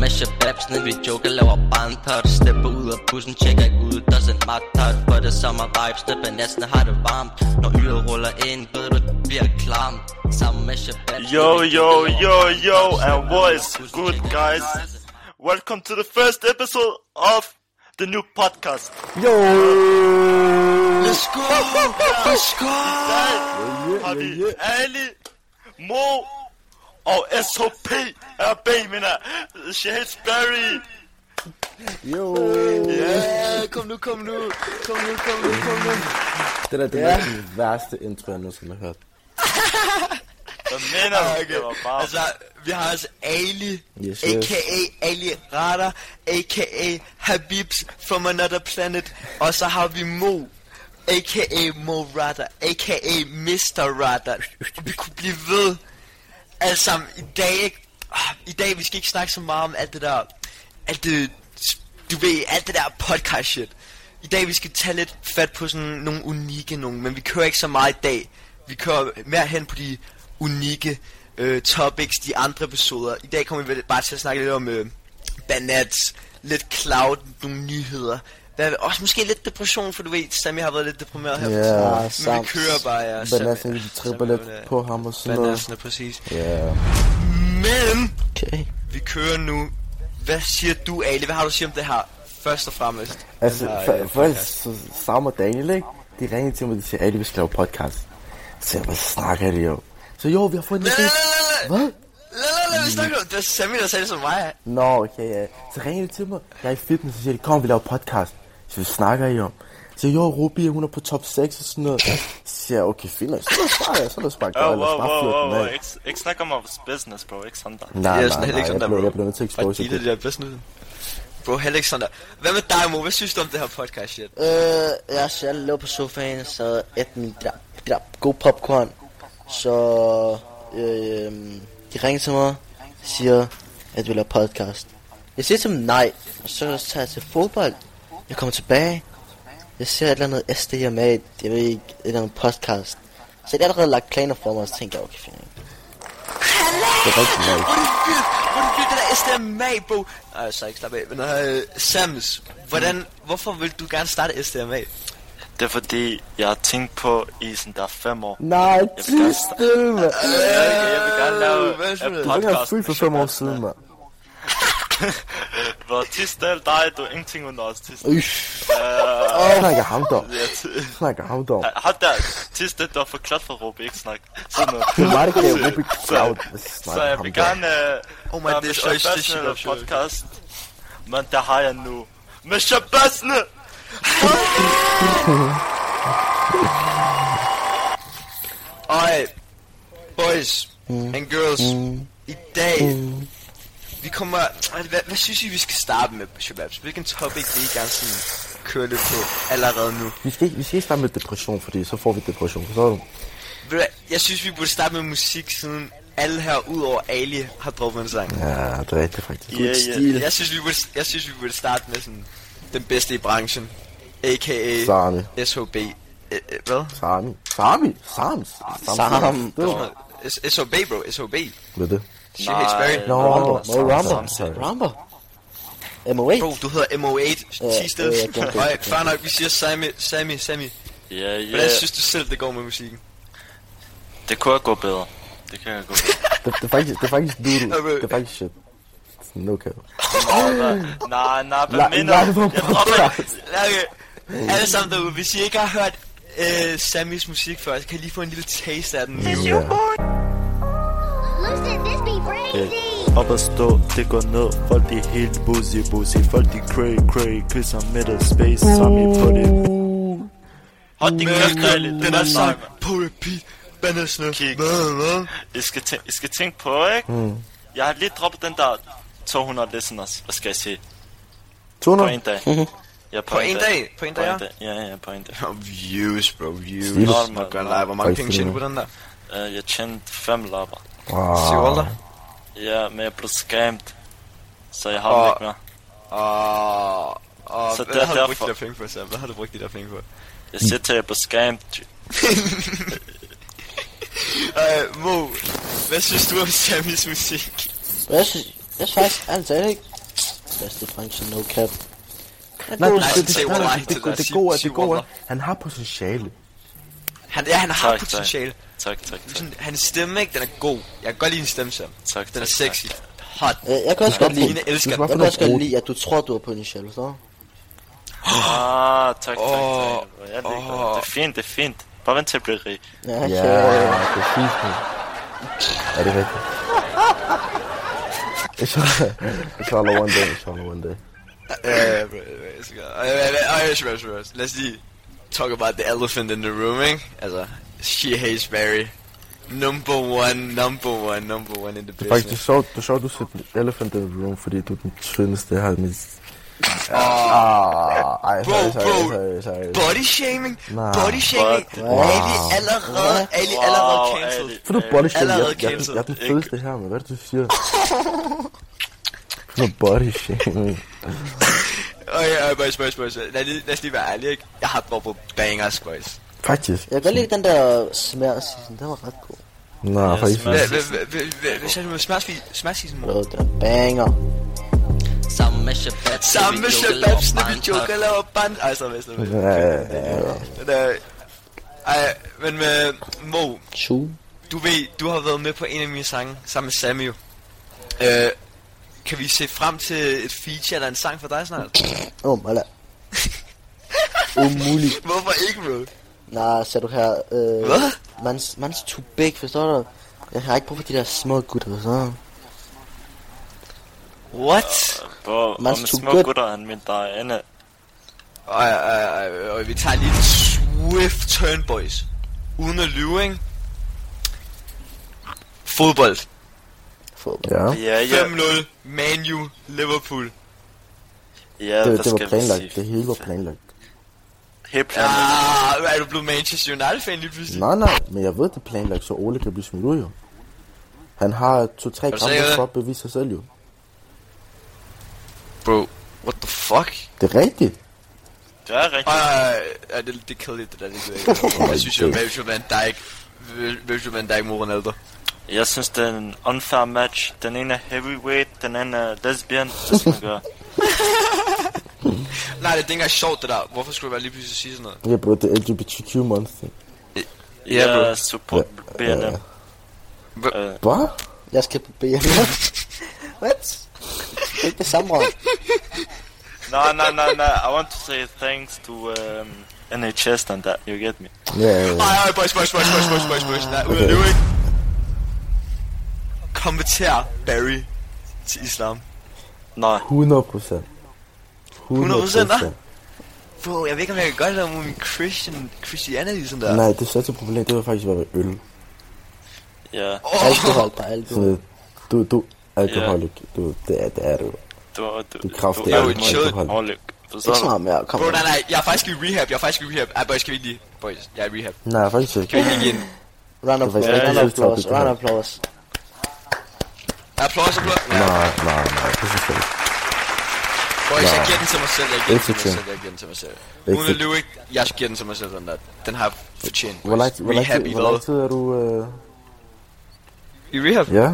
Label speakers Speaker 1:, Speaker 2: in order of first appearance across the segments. Speaker 1: med shababs ned Vi joker, laver bandhot Stepper ud af bussen, tjekker ikke ud Der er en magthot For det sommer vibes Det banasen har det varmt Når yder ruller ind Ved du, det bliver klam Sammen med shababs ned,
Speaker 2: Yo,
Speaker 1: vi
Speaker 2: yo,
Speaker 1: joker,
Speaker 2: yo,
Speaker 1: laver
Speaker 2: yo,
Speaker 1: bandhot,
Speaker 2: and
Speaker 1: stepper ud af
Speaker 2: what is
Speaker 1: bussen,
Speaker 2: good,
Speaker 1: tjekker
Speaker 2: guys?
Speaker 1: ikke ud.
Speaker 2: Welcome to the first episode of the new podcast.
Speaker 3: Jo!
Speaker 1: Let's go Let's go
Speaker 2: Der har vi Ali, Mo og SHP er bag mine uh, Shadesbury.
Speaker 3: Jo!
Speaker 4: Ja, kom nu, kom nu. Kom nu, kom nu, kom nu.
Speaker 3: Det der, det er den værste intro, jeg nogensinde har hørt.
Speaker 2: Hvad mener du?
Speaker 4: Okay.
Speaker 2: Det var bare...
Speaker 4: Altså, vi har altså Ali,
Speaker 3: Yes, yes.
Speaker 4: a.k.a. Ali Radar, a.k.a. Habibs from another planet. Og så har vi Mo, a.k.a. Mo Radar, a.k.a. Mr. Radar. Vi kunne blive ved. Altså, sammen i dag, ikke? Ah, I dag, vi skal ikke snakke så meget om alt det der, alt det, du ved, alt det der podcast shit. I dag, vi skal tage lidt fat på sådan nogle unikke nogle, men vi kører ikke så meget i dag. Vi kører mere hen på de unikke øh, topics, de andre episoder. I dag kommer vi vel bare til at snakke lidt om øh, banats, lidt cloud, nogle nyheder. Hvad, også måske lidt depression, for du ved, Sammy har været lidt deprimeret her. for tiden.
Speaker 3: Ja,
Speaker 4: men vi kører bare, ja.
Speaker 3: Banasen, vi tripper lidt på ham og sådan noget.
Speaker 4: Banasen er præcis.
Speaker 3: Ja.
Speaker 4: Men
Speaker 3: Okay.
Speaker 4: vi kører nu. Hvad siger du, Ali? Hvad har du at sige om det her? Først og fremmest.
Speaker 3: Altså,
Speaker 4: Den her, øh,
Speaker 3: for-
Speaker 4: podcast.
Speaker 3: først så Sam og Daniel, ikke? De ringede til mig, de siger, at vi skal lave podcast. Så jeg, hvad snakker de jo? Så jo, vi har fået en
Speaker 4: La, la,
Speaker 3: idé.
Speaker 4: la, la, la.
Speaker 3: Hvad?
Speaker 4: La, la, la, vi snakker om- Det var Sammy, der sagde det som mig.
Speaker 3: Nå, okay, ja. Så ringer de til mig. Jeg er i fitness, så siger de, kom, vi laver podcast. Så vi snakker I om. Så siger, jo, Ruby, hun er på top 6 og sådan noget. Så siger jeg, okay, fint, nok. så lad os bare, så lad os bare
Speaker 2: Oh,
Speaker 3: gøre, lad
Speaker 2: wow,
Speaker 3: os bare
Speaker 2: wow,
Speaker 3: flytte
Speaker 2: wow,
Speaker 3: den
Speaker 2: wow.
Speaker 3: af.
Speaker 2: Ikke, ikke snak om vores business, bro. Ikke sådan der.
Speaker 3: Nej,
Speaker 4: Det er
Speaker 3: nej,
Speaker 4: sådan
Speaker 3: nej, jeg
Speaker 4: Alexander,
Speaker 3: blev,
Speaker 4: bro.
Speaker 3: jeg blev nødt til at
Speaker 4: Og
Speaker 3: expose
Speaker 4: de det der bedst nu. Bro, Alexander. Hvad med dig, Mo? Hvad synes du om det her podcast shit?
Speaker 5: Øh, jeg selv lå på sofaen, så et min der, der god popcorn. Så øh, de ringer til mig, siger, at vi laver podcast. Jeg siger til dem nej, og så tager jeg til fodbold. Jeg kommer tilbage, jeg ser et eller andet SDMA, jeg ved ikke, et eller andet podcast. Så jeg har allerede lagt planer for mig, og så tænkte jeg, okay, fint.
Speaker 3: Det er rigtig nice.
Speaker 4: Hvor er det vildt, hvor er det vildt, det der SDMA, Bo. Nej, så ikke slap af. Men øh, Sams, hvordan, hvorfor vil du gerne starte SDMA?
Speaker 2: Det er fordi, jeg har tænkt på i sådan der fem år.
Speaker 3: Nej,
Speaker 2: Jeg vil
Speaker 3: tis
Speaker 2: gerne starte-
Speaker 3: stille, mand.
Speaker 2: Jeg, vil- jeg vil gerne lave
Speaker 4: Hvad
Speaker 2: en
Speaker 4: synes du?
Speaker 3: Du var ikke
Speaker 2: podcast.
Speaker 3: fyldt for fem år siden, mand.
Speaker 2: Hvor tisdag dig, du er ingenting under os tisdag.
Speaker 3: Øj, snakker ham dog. Snakker ham dog.
Speaker 2: Hold der, tisdag, du har forklaret for Ruby, ikke snak. Sådan noget.
Speaker 3: Det var det, der er Rubik
Speaker 2: Så-
Speaker 3: Cloud. Hvad
Speaker 2: Så
Speaker 3: snakker
Speaker 2: jeg
Speaker 3: ham
Speaker 2: vil
Speaker 3: dog?
Speaker 2: gerne øh,
Speaker 4: Oh my
Speaker 2: være
Speaker 4: days,
Speaker 2: med
Speaker 4: og jeg synes, det
Speaker 2: Shabbasne
Speaker 4: er sjovt.
Speaker 2: podcast. Men der har jeg nu. Med Shabbasne!
Speaker 4: Alright, boys and girls, i dag, vi kommer, Ej, hvad, hvad synes I, vi skal starte med, Shababs? Hvilken topic vil I gerne sådan køre lidt på allerede nu?
Speaker 3: Vi skal, ikke- vi skal ikke starte med depression, fordi så får vi depression. Forstår du?
Speaker 4: Ved du hvad, Jeg synes, vi burde starte med musik, siden alle her, udover Ali, har droppet en sang.
Speaker 3: Ja, det er rigtigt, faktisk.
Speaker 2: Ja, ja.
Speaker 4: Jeg synes, vi burde, jeg synes, vi burde starte med sådan, den bedste i branchen, a.k.a.
Speaker 3: Sami.
Speaker 4: SHB. Øh, øh, Hvad?
Speaker 3: Sami. Sami. Sams.
Speaker 5: Sam.
Speaker 3: Det var-
Speaker 4: S- SHB, bro, SHB.
Speaker 3: Hvad er det?
Speaker 4: Shit, it's very...
Speaker 3: Nå,
Speaker 2: Rumble.
Speaker 3: Mo Rumble.
Speaker 2: Samtidig.
Speaker 3: Sorry.
Speaker 5: Ramper. M08.
Speaker 4: Bro, du hedder MO8,
Speaker 5: Ja,
Speaker 4: 10 stille.
Speaker 5: ja, jeg glemte det.
Speaker 4: Nej, fair nok, vi siger Sammy, Sammy, Sammy.
Speaker 2: Ja,
Speaker 4: Hvordan
Speaker 2: ja.
Speaker 4: synes du selv, det går med musikken?
Speaker 2: Det kunne jeg gå bedre. Det kan jeg gå bedre.
Speaker 3: Det, det er faktisk, det er faktisk doodle.
Speaker 4: Ja, bro.
Speaker 3: Det er faktisk shit. No cap.
Speaker 2: Nej, nej,
Speaker 3: Nej,
Speaker 2: hvad mener
Speaker 3: nej,
Speaker 2: du?
Speaker 3: hvor
Speaker 2: Jeg dropper
Speaker 4: Okay, alle sammen derude, hvis I ikke har hørt øh, Sammys musik før, så kan I lige få en lille taste af den nu.
Speaker 3: Ja.
Speaker 6: Listen, this be crazy.
Speaker 7: Op at stå, det går ned Folk de er helt boozy boozy Folk de cray cray Krydser middle space Sami på det
Speaker 2: Hold din kæft, Ali.
Speaker 4: Velkommen,
Speaker 2: Den
Speaker 4: den
Speaker 2: er
Speaker 4: er
Speaker 2: sej,
Speaker 4: sang
Speaker 2: mand.
Speaker 4: på repeat. Bandersne.
Speaker 2: Kig.
Speaker 4: Hvad, hvad?
Speaker 2: I skal, tæ- I skal tænke på, ikke?
Speaker 3: Mm.
Speaker 2: Jeg har lige droppet den der 200 listeners. Hvad skal jeg sige? På en
Speaker 3: 200.
Speaker 2: dag. Ja, på,
Speaker 4: På en dag, på en
Speaker 2: På
Speaker 4: dag, ja.
Speaker 2: en dag. Ja, ja, på en dag.
Speaker 4: Og Views, bro, views.
Speaker 3: Stilet.
Speaker 4: Nå, man gør live. Hvor mange
Speaker 3: Faktisk
Speaker 4: penge tjener du på den der?
Speaker 2: Uh, jeg tjente fem lapper.
Speaker 5: Ah.
Speaker 4: Syv
Speaker 3: Wow.
Speaker 4: dollar.
Speaker 2: Ja, men jeg blev scammed. Så jeg har
Speaker 4: Og-
Speaker 2: dem ikke mere.
Speaker 4: Og... Og
Speaker 2: Så
Speaker 4: Ah, hvad
Speaker 2: der-
Speaker 4: har du brugt
Speaker 2: derfor-
Speaker 4: de der penge på, Sam? Hvad har du brugt de der penge på?
Speaker 2: Jeg siger til, at jeg blev scammed.
Speaker 4: Øh, Mo, hvad synes du om Sammys musik?
Speaker 5: Jeg synes, jeg synes faktisk, altså, ikke? podcastbranchen, no cap.
Speaker 3: Nej, du,
Speaker 4: Nej,
Speaker 3: det, det,
Speaker 4: sig
Speaker 3: nej, nej,
Speaker 4: wallah
Speaker 3: det,
Speaker 4: til
Speaker 3: det,
Speaker 4: dig.
Speaker 3: det, det
Speaker 4: Sig-
Speaker 3: gode er,
Speaker 2: sig
Speaker 3: det gode er,
Speaker 2: wallah.
Speaker 3: han har potentiale.
Speaker 4: Han, ja, han har
Speaker 2: Tak, tak.
Speaker 4: potentiale.
Speaker 2: Tak, tak, tak.
Speaker 4: Sådan, hans stemme, ikke? Den er god. Jeg kan godt lide hans stemme, Sam.
Speaker 2: Tak,
Speaker 4: Den er
Speaker 2: tak,
Speaker 4: sexy. Hot.
Speaker 5: Øh, Jeg kan også godt lide,
Speaker 4: Line elsker
Speaker 3: Du skal
Speaker 4: den.
Speaker 5: jeg
Speaker 3: for
Speaker 5: kan
Speaker 3: noget
Speaker 5: også godt
Speaker 3: brud.
Speaker 5: lide, at du tror, du har potentiale, forstår du?
Speaker 2: Ah, tak, tak,
Speaker 4: Åh,
Speaker 2: tak. Jeg ligger. Det er fint, det er fint. Bare vent til at blive rig.
Speaker 5: Ja,
Speaker 3: Ja,
Speaker 5: okay.
Speaker 3: det er fint. mand. Er det rigtigt? Inshallah, inshallah one day, inshallah one day.
Speaker 4: Ja, ja, bro, jeg elsker. Og jeg- jeg- jeg- jeg- jeg- jeg- jeg- Lad os lige talk about the elephant in the room, ikke? Altså, she hates Mary. Number one, number one, number one in the
Speaker 3: Det er faktisk det
Speaker 4: business.
Speaker 3: er sjovt, det er sjovt, du siger elephant in the room, fordi du er den tyndeste her i mit... Ah, ej,
Speaker 4: Bro,
Speaker 3: sorry, sorry,
Speaker 4: bro.
Speaker 3: sorry, sorry.
Speaker 4: Body shaming?
Speaker 3: Nej.
Speaker 4: Body shaming?
Speaker 5: Wow.
Speaker 4: Ali allerede, Ali allerede
Speaker 2: Wow,
Speaker 4: cancelled.
Speaker 2: Ali.
Speaker 3: For du body shit, jeg,
Speaker 4: Allerede
Speaker 3: jeg, jeg,
Speaker 4: cancelled.
Speaker 3: jeg er den fedeste her, men hvad er det, du siger? For du body shit.
Speaker 4: Øj, øj, boys, boys, boys. Lad, lige, lad os lige være ærlige, ikke? Jeg har droppet bangers, boys.
Speaker 3: Faktisk.
Speaker 5: Jeg kan godt lide den der smær season, den var ret god.
Speaker 3: Nej,
Speaker 2: Ja,
Speaker 3: faktisk.
Speaker 2: smager.
Speaker 3: ikke.
Speaker 4: Hvad- hvad- hvad- hvad- hvad- Hvad sagde du med smagsisen, mor?
Speaker 5: Bro, den er banger.
Speaker 1: Sammen med Shabab
Speaker 4: Sammen med Shababsen, vi joker laver band. Ej, så vest,
Speaker 3: Ja, Eh, ja, ja, ja.
Speaker 4: Ej, men med Mo,
Speaker 5: Su.
Speaker 4: du ved, du har været med på en af mine sange sammen med Sammy. jo. Øh, kan vi se frem til et feature eller en sang for dig snart?
Speaker 5: Åh, oh, mala. Umuligt.
Speaker 4: Hvorfor ikke, bro?
Speaker 5: Nej, ser du her. Øh,
Speaker 4: Hvad?
Speaker 5: Man's, man's too big, forstår du? Jeg har ikke brug for de der små gutter, forstår du?
Speaker 4: What?
Speaker 2: Bro, og
Speaker 5: Man
Speaker 2: med
Speaker 5: tog
Speaker 2: små
Speaker 5: godt-
Speaker 2: gutter, han mente dig, Anna.
Speaker 4: Ej, ej, ej, ej, vi tager lige et swift turn, boys. Uden at lyve, ikke? Fodbold.
Speaker 5: Fodbold.
Speaker 3: Ja,
Speaker 2: Ja, ja,
Speaker 4: 5-0, Man U, Liverpool.
Speaker 2: ja,
Speaker 3: det,
Speaker 2: hvad
Speaker 3: det var
Speaker 2: skal vi
Speaker 3: planlagt.
Speaker 2: sige?
Speaker 3: Det hele var planlagt.
Speaker 2: Helt planlagt.
Speaker 4: Ah, er du blevet Manchester United-fan lige pludselig?
Speaker 3: Nej, nej, men jeg ved, det er planlagt, så Ole kan blive smidt ud, jo. Han har to-tre
Speaker 4: sikker?
Speaker 3: kampe for at bevise sig selv, jo.
Speaker 4: Bro, what the fuck?
Speaker 3: Det er rigtigt.
Speaker 2: Det er rigtigt.
Speaker 4: Ej, ej, det, det kedeligt, det der, det gør jeg. Jeg synes jo,
Speaker 3: Okay.
Speaker 4: Virgil van Dijk, Virgil van Dijk mod Ronaldo.
Speaker 2: Jeg synes, det er en unfair match. Den ene er heavyweight, den anden er lesbian. Det skal man gøre.
Speaker 4: Nej, det er ikke engang sjovt, det der. Hvorfor skulle jeg bare lige pludselig sige sådan noget?
Speaker 3: Ja, bro, det er LGBTQ month.
Speaker 2: Ja, bro. Jeg support BNM.
Speaker 3: Hvad?
Speaker 5: Jeg skal på BM. What? Det er ikke det samme råd.
Speaker 2: No, no, no, no. I want to say thanks to um, NHS and that. You get me?
Speaker 3: Ja, ja, ja.
Speaker 4: Ej, ej, boys, boys, boys, boys, boys, boys, boys. Nej, ud af løbe, ikke? Konverter Barry til islam.
Speaker 2: Nej.
Speaker 3: 100 procent. 100
Speaker 4: 100%, hva'? Bro, jeg ved ikke, om jeg kan godt lide min Christian, Christianity sådan der.
Speaker 3: Nej, det største problem, det var faktisk bare med øl.
Speaker 2: Ja,
Speaker 5: Alkohol, der er alkohol.
Speaker 3: Sådan, du, du, alkoholik. Du, det er, det er du.
Speaker 2: du var... Du,
Speaker 3: Du kræfter
Speaker 2: er jo
Speaker 4: et
Speaker 2: et
Speaker 4: sjovt
Speaker 3: hold.
Speaker 2: alkoholik. Du
Speaker 5: Ikke så
Speaker 2: så
Speaker 5: meget mere, kom.
Speaker 4: Bro, nej, nej, jeg er faktisk i rehab, jeg er faktisk i rehab. Ej, boys, kan vi ikke lige... Boys, jeg er i rehab.
Speaker 3: Nej, faktisk ikke.
Speaker 4: Kan vi ikke lige igen?
Speaker 5: Round of applause,
Speaker 3: Ja,
Speaker 5: round
Speaker 3: ja,
Speaker 5: of applause,
Speaker 3: ja.
Speaker 5: round of applause.
Speaker 4: Applaus, applaus. Ja,
Speaker 3: Nej, nej, nej, det synes jeg ikke.
Speaker 4: boys, jeg
Speaker 3: nej.
Speaker 4: giver den til mig selv, jeg giver den til mig
Speaker 3: Ikke
Speaker 4: selv, jeg giver den til mig selv.
Speaker 3: Ikke
Speaker 4: Uden at lyve ikke, jeg giver den til mig selv, den der. Den har jeg fortjent.
Speaker 3: Hvor lang,
Speaker 4: boys.
Speaker 3: hvor lang,
Speaker 4: Rehab
Speaker 3: tid,
Speaker 4: i
Speaker 3: hvor lang
Speaker 4: hvad?
Speaker 3: tid er du... Øh...
Speaker 4: I rehab?
Speaker 3: Ja?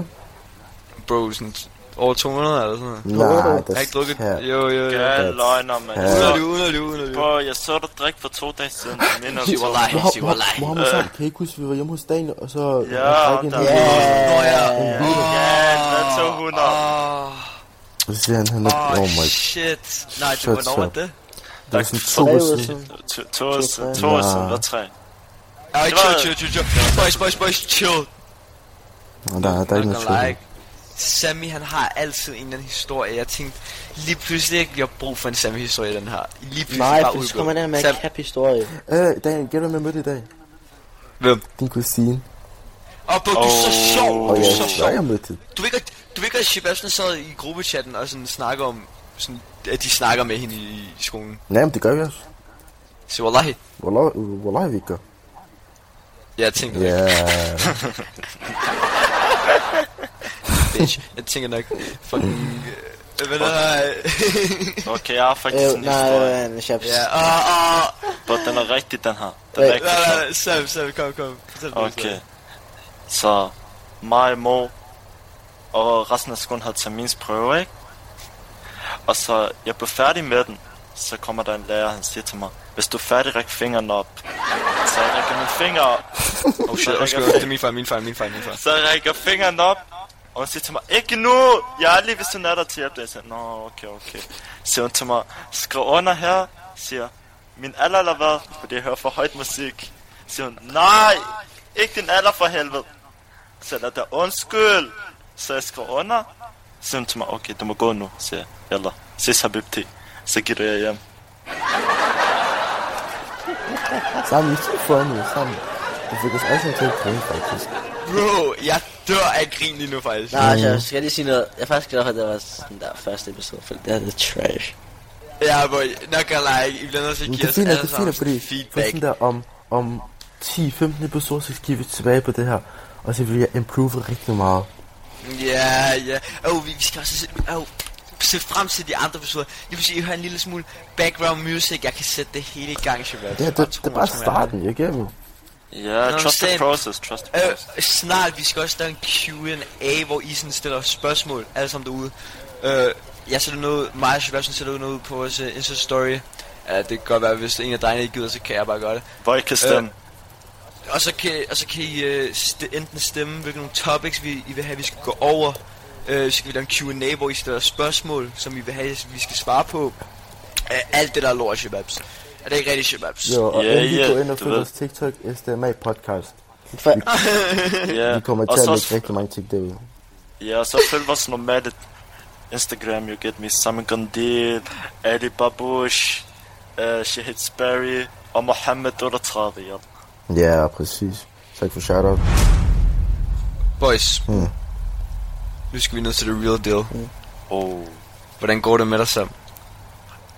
Speaker 4: Bro, sådan over 200 eller sådan noget.
Speaker 3: Nej, det
Speaker 4: Jeg har ikke drukket.
Speaker 3: her.
Speaker 4: Jo, jo, jo.
Speaker 2: Ja, løgner, man.
Speaker 3: Ja.
Speaker 4: Uden at
Speaker 2: Så,
Speaker 4: lyve, uden at lyve, uden at lyve.
Speaker 2: Bro, jeg så dig drikke for to dage siden. Jeg Minder om to.
Speaker 4: Wallahi,
Speaker 3: Moha-
Speaker 4: sig
Speaker 3: Moha-
Speaker 4: wallahi.
Speaker 3: Mohammed Sam, kan I ikke huske, vi var hjemme hos Daniel, og så...
Speaker 2: Ja,
Speaker 3: han drak en
Speaker 2: der-
Speaker 3: hel-
Speaker 4: Nå ja.
Speaker 2: Ja, der er 200.
Speaker 4: Åh,
Speaker 3: Og så siger han, han er...
Speaker 4: åh,
Speaker 3: Oh my...
Speaker 4: shit. Nej, det
Speaker 3: Shit,
Speaker 4: var nok
Speaker 3: så.
Speaker 4: det.
Speaker 3: Det er sådan to
Speaker 5: Tre
Speaker 3: år
Speaker 5: uger
Speaker 3: siden.
Speaker 5: siden.
Speaker 2: To- To år siden.
Speaker 5: tre.
Speaker 2: To år siden.
Speaker 3: Nå.
Speaker 2: Der er tre.
Speaker 4: Ej,
Speaker 2: Det var-
Speaker 4: chill, chill, chill, chill. Boys, boys, boys, chill.
Speaker 3: Nå, Der, der er ikke
Speaker 4: Not
Speaker 3: noget
Speaker 4: gonna lie.
Speaker 3: tvivl.
Speaker 4: Sammy, han har altid en eller anden historie. Jeg tænkte, lige pludselig ikke, vi har brug for en Sammy-historie, den her. Lige pludselig
Speaker 5: Nej,
Speaker 4: bare
Speaker 5: for så
Speaker 4: udgå.
Speaker 5: kommer den her med
Speaker 4: Sam,
Speaker 5: en cap historie.
Speaker 3: Øh, Daniel, gæt hvem jeg mødte i dag?
Speaker 4: hvem?
Speaker 3: Din kusine.
Speaker 4: Åh, bro, du er så sjov.
Speaker 3: Og
Speaker 4: Du
Speaker 3: jeg
Speaker 4: er så
Speaker 3: der
Speaker 4: sjov.
Speaker 3: er jeg mødte hende.
Speaker 4: Du ved ikke, at- du ved ikke, at Sebastian sad i gruppechatten og sådan snakker om, sådan, at de snakker med hende i, i skolen.
Speaker 3: Nej, men det gør vi også.
Speaker 4: Så wallahi.
Speaker 3: Wallah, wallah, vi gør.
Speaker 4: Jeg tænker nok,
Speaker 3: Ja,
Speaker 4: bitch. Jeg tænker nok, fucking... Øh, hvad der
Speaker 2: Okay, jeg har faktisk
Speaker 5: Øh,
Speaker 2: en
Speaker 5: nej,
Speaker 2: historie.
Speaker 5: øh, Shabs.
Speaker 4: Ja, åh, åh.
Speaker 2: But den er rigtig, den her. Den er
Speaker 5: Øh,
Speaker 2: rigtig
Speaker 4: Nej,
Speaker 2: sjov.
Speaker 4: nej, nej, Sam, Sam, kom, kom. Fortæl mig,
Speaker 2: Okay.
Speaker 4: Sam.
Speaker 2: Så mig, mor og resten af skolen havde terminsprøve, ikke? Og så jeg blev færdig med den, så kommer der en lærer, han siger til mig, hvis du er færdig, ræk fingeren op. Så jeg rækker min finger op,
Speaker 6: Oh shit, undskyld, det er min fejl, min fejl, min fejl, min fejl.
Speaker 2: så jeg rækker fingeren op, og hun siger til mig, ikke nu, jeg er lige ved siden af dig til at hjælpe dig." Jeg siger, nå, okay, okay. Så Siger hun til mig, skriv under her, siger, min alder eller hvad? Fordi jeg hører for højt musik. Så Siger hun, nej, ikke din alder for helvede. Så jeg der undskyld. Så jeg skriver under. Så Siger hun til mig, okay, du må gå nu, siger jeg. Eller, ses habibti. Så giver jeg hjem.
Speaker 3: Sammen, vi skal få noget sammen. Det fik os alle sammen til at grine, faktisk.
Speaker 6: Bro, jeg dør af grin lige nu faktisk.
Speaker 5: Nej, altså, jeg skal lige sige noget. Jeg er faktisk glad for, at det var sådan der første episode, for det er lidt trash.
Speaker 6: Ja, boy, nok kan jeg ikke. I bliver nødt til at
Speaker 3: Men
Speaker 6: give
Speaker 3: det er
Speaker 6: os
Speaker 3: fint, at
Speaker 6: alle
Speaker 3: det er fint,
Speaker 6: sammen
Speaker 3: at fordi for
Speaker 6: feedback.
Speaker 3: sådan der om, om 10-15 episoder, så skal vi tilbage på det her. Og så vil jeg improve rigtig meget.
Speaker 4: Ja, ja. Åh, vi, vi skal også se, oh, se frem til de andre episoder. Det vil sige, at I hører en lille smule background music. Jeg kan sætte det hele i gang, Shabab.
Speaker 3: Ja, det, det, det er bare starten, jeg igennem.
Speaker 2: Ja, yeah,
Speaker 4: Nå,
Speaker 2: trust the
Speaker 4: same.
Speaker 2: process, trust the
Speaker 4: Øh,
Speaker 2: process.
Speaker 4: snart, vi skal også lave en Q&A, hvor I sådan stiller spørgsmål, alle sammen derude. Øh, jeg sætter noget, mig og Shabab sådan sætter noget ud på vores øh, Insta-story. Ja, det kan godt være, hvis en af drengene ikke gider, så kan jeg bare gøre det.
Speaker 2: Hvor I kan stemme.
Speaker 4: Og så kan, og så kan I øh, st- enten stemme, hvilke nogle topics vi, I vil have, vi skal gå over. Øh, så kan vi lave en Q&A, hvor I stiller spørgsmål, som I vil have, vi skal svare på. Øh, alt det, der er lort, Shababs. Er det ikke rigtigt, Shababs?
Speaker 3: Jo, og
Speaker 2: Ja,
Speaker 3: yeah, endelig
Speaker 2: ja,
Speaker 3: gå ind og
Speaker 2: du
Speaker 3: følg
Speaker 2: ved.
Speaker 3: vores TikTok SDMA podcast.
Speaker 5: For,
Speaker 2: Ja,
Speaker 4: øh,
Speaker 3: Vi kommer
Speaker 2: og
Speaker 3: til at
Speaker 2: så
Speaker 3: lægge rigtig mange ting derude.
Speaker 2: Ja, og så følg vores normale Instagram, you get me, Simon Gondil, Ali Babush, uh, Shahid Sperry og Mohammed 38, ja.
Speaker 3: Ja, præcis. Tak for shoutout.
Speaker 6: Boys,
Speaker 3: Mm.
Speaker 6: nu skal vi ned til the real deal.
Speaker 2: Oh,
Speaker 6: Hvordan går det med dig Sam?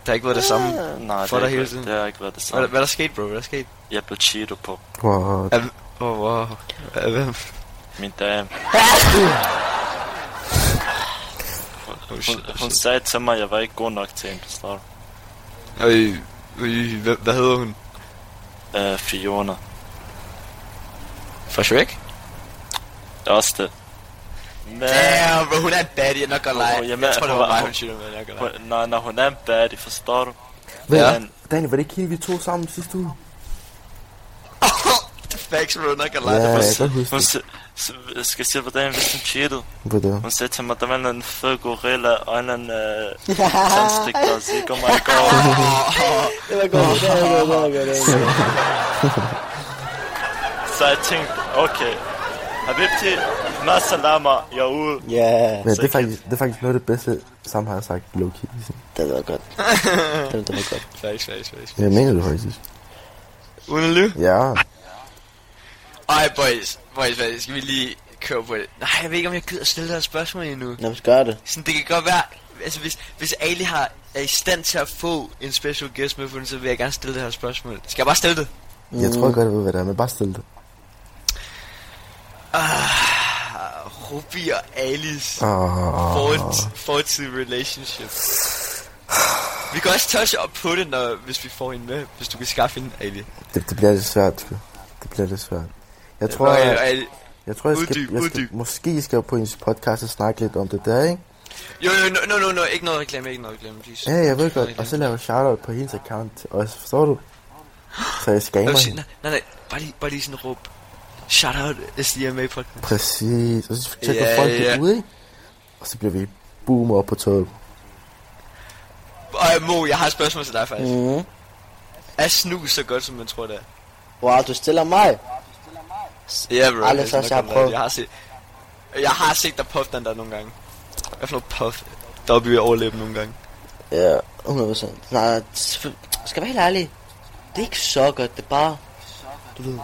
Speaker 6: Der har ikke været det samme.
Speaker 2: nej,
Speaker 6: For
Speaker 2: det,
Speaker 6: dig
Speaker 2: har
Speaker 6: hele
Speaker 2: ikke, været-
Speaker 6: tiden.
Speaker 2: det har ikke været det
Speaker 6: Hvad,
Speaker 2: samme.
Speaker 6: hvad er der sket, bro? Hvad er der sket?
Speaker 2: Jeg blev cheated på
Speaker 3: Wow.
Speaker 6: Åh, wow. Hvad- Hvem?
Speaker 2: min dame.
Speaker 6: Oh, shit,
Speaker 2: Hun,
Speaker 6: oh,
Speaker 2: hun
Speaker 6: shit.
Speaker 2: sagde til mig, at jeg var ikke god nok til hende, forstår du?
Speaker 6: Øj, øj, hvad- hvad hedder hun?
Speaker 2: Uh, Fiona.
Speaker 6: Fra Shrek?
Speaker 2: Det er også det. Men,
Speaker 6: Damn, bro, hun er en baddie, jeg er nok godt
Speaker 2: Åh,
Speaker 6: lege.
Speaker 2: jamen,
Speaker 6: Jeg tror, det
Speaker 2: hun
Speaker 6: var
Speaker 2: var-
Speaker 6: mig, hun shooter med, jeg godt
Speaker 2: hun- når, når hun er en baddie, forstår du?
Speaker 3: Ja.
Speaker 2: Men,
Speaker 3: Daniel, var det ikke hende, vi tog sammen sidste uge?
Speaker 6: Facts, bro, nok godt
Speaker 3: Ja, jeg
Speaker 6: lege.
Speaker 3: kan godt huske
Speaker 2: hun,
Speaker 3: det.
Speaker 2: se- s- skal jeg sige, hvordan hvis hun cheatede?
Speaker 3: Hvad det var.
Speaker 2: Hun sagde til mig, der var en eller anden fed gorilla og en eller anden øh, tandstik, der siger, oh my god.
Speaker 5: det var godt, det var godt, det var godt. det var godt.
Speaker 2: Så jeg tænkte, okay, Habibti, masalama, jeg er ude.
Speaker 5: Ja,
Speaker 3: Men det er, faktisk, det er faktisk noget af det bedste, Sam har sagt low-key. sådan.
Speaker 5: det var godt. Det var, det var godt.
Speaker 6: Facts, facts, facts.
Speaker 3: Jeg mener det faktisk.
Speaker 6: Uden at lyve.
Speaker 3: Ja.
Speaker 6: Ej, boys, boys, boys, skal vi lige køre på det?
Speaker 4: Nej, jeg ved ikke, om jeg gider stille dig et spørgsmål endnu.
Speaker 5: Nå, men gør det.
Speaker 4: Sådan, det kan godt være... Altså, hvis, hvis Ali har, er i stand til at få en special guest med på den, så vil jeg gerne stille det her spørgsmål. Skal jeg bare stille det?
Speaker 3: Jeg tror godt, jeg ved, hvad det er, men bare stil det.
Speaker 4: Rubi og Alice
Speaker 3: Ah. Åh,
Speaker 4: fort, fortidig relationship. Vi kan også touche op på det, når, hvis vi får en med, hvis du kan skaffe en, Ali.
Speaker 3: det, det bliver lidt svært. sgu. Det bliver lidt svært. Jeg tror,
Speaker 4: Og,
Speaker 3: jeg,
Speaker 4: Ali.
Speaker 3: jeg, tror, jeg skal,
Speaker 4: uddyb,
Speaker 3: jeg skal,
Speaker 4: uddyb.
Speaker 3: måske skal jeg på hendes podcast og snakke lidt om det der, ikke?
Speaker 4: Jo, jo, no, no, no, no, ikke noget reklame, ikke noget reklame, please.
Speaker 3: Ja, jeg ved godt. Og så laver jeg shoutout på hendes account til os, forstår du? Så jeg
Speaker 4: Jeg vil
Speaker 3: scammer
Speaker 4: sige,
Speaker 3: hende.
Speaker 4: nej, nej, nej, bare lige, bare lige sådan råb. Shout out SDMA podcast.
Speaker 3: Præcis. Og så tjekker
Speaker 4: Ja,
Speaker 3: folk det
Speaker 4: ja.
Speaker 3: ud, ikke? Og så bliver vi boomer op på toget.
Speaker 4: Og Mo, jeg har et spørgsmål til dig faktisk.
Speaker 5: Mm-hmm.
Speaker 4: Mm. Er snus så godt, som man tror, det er?
Speaker 5: Wow, du stiller mig.
Speaker 4: Ja, bro.
Speaker 5: Aldrig så,
Speaker 4: sådan,
Speaker 5: så jeg
Speaker 4: der
Speaker 5: prøvet.
Speaker 4: kommer- Jeg har set, jeg har set dig puffe den der nogle gange. Hvad for noget puff? Der bliver overlæben nogle gange.
Speaker 5: Ja, 100%. Nej, selvfø- skal være helt ærlig. Det er ikke så godt, det er bare... Du ved,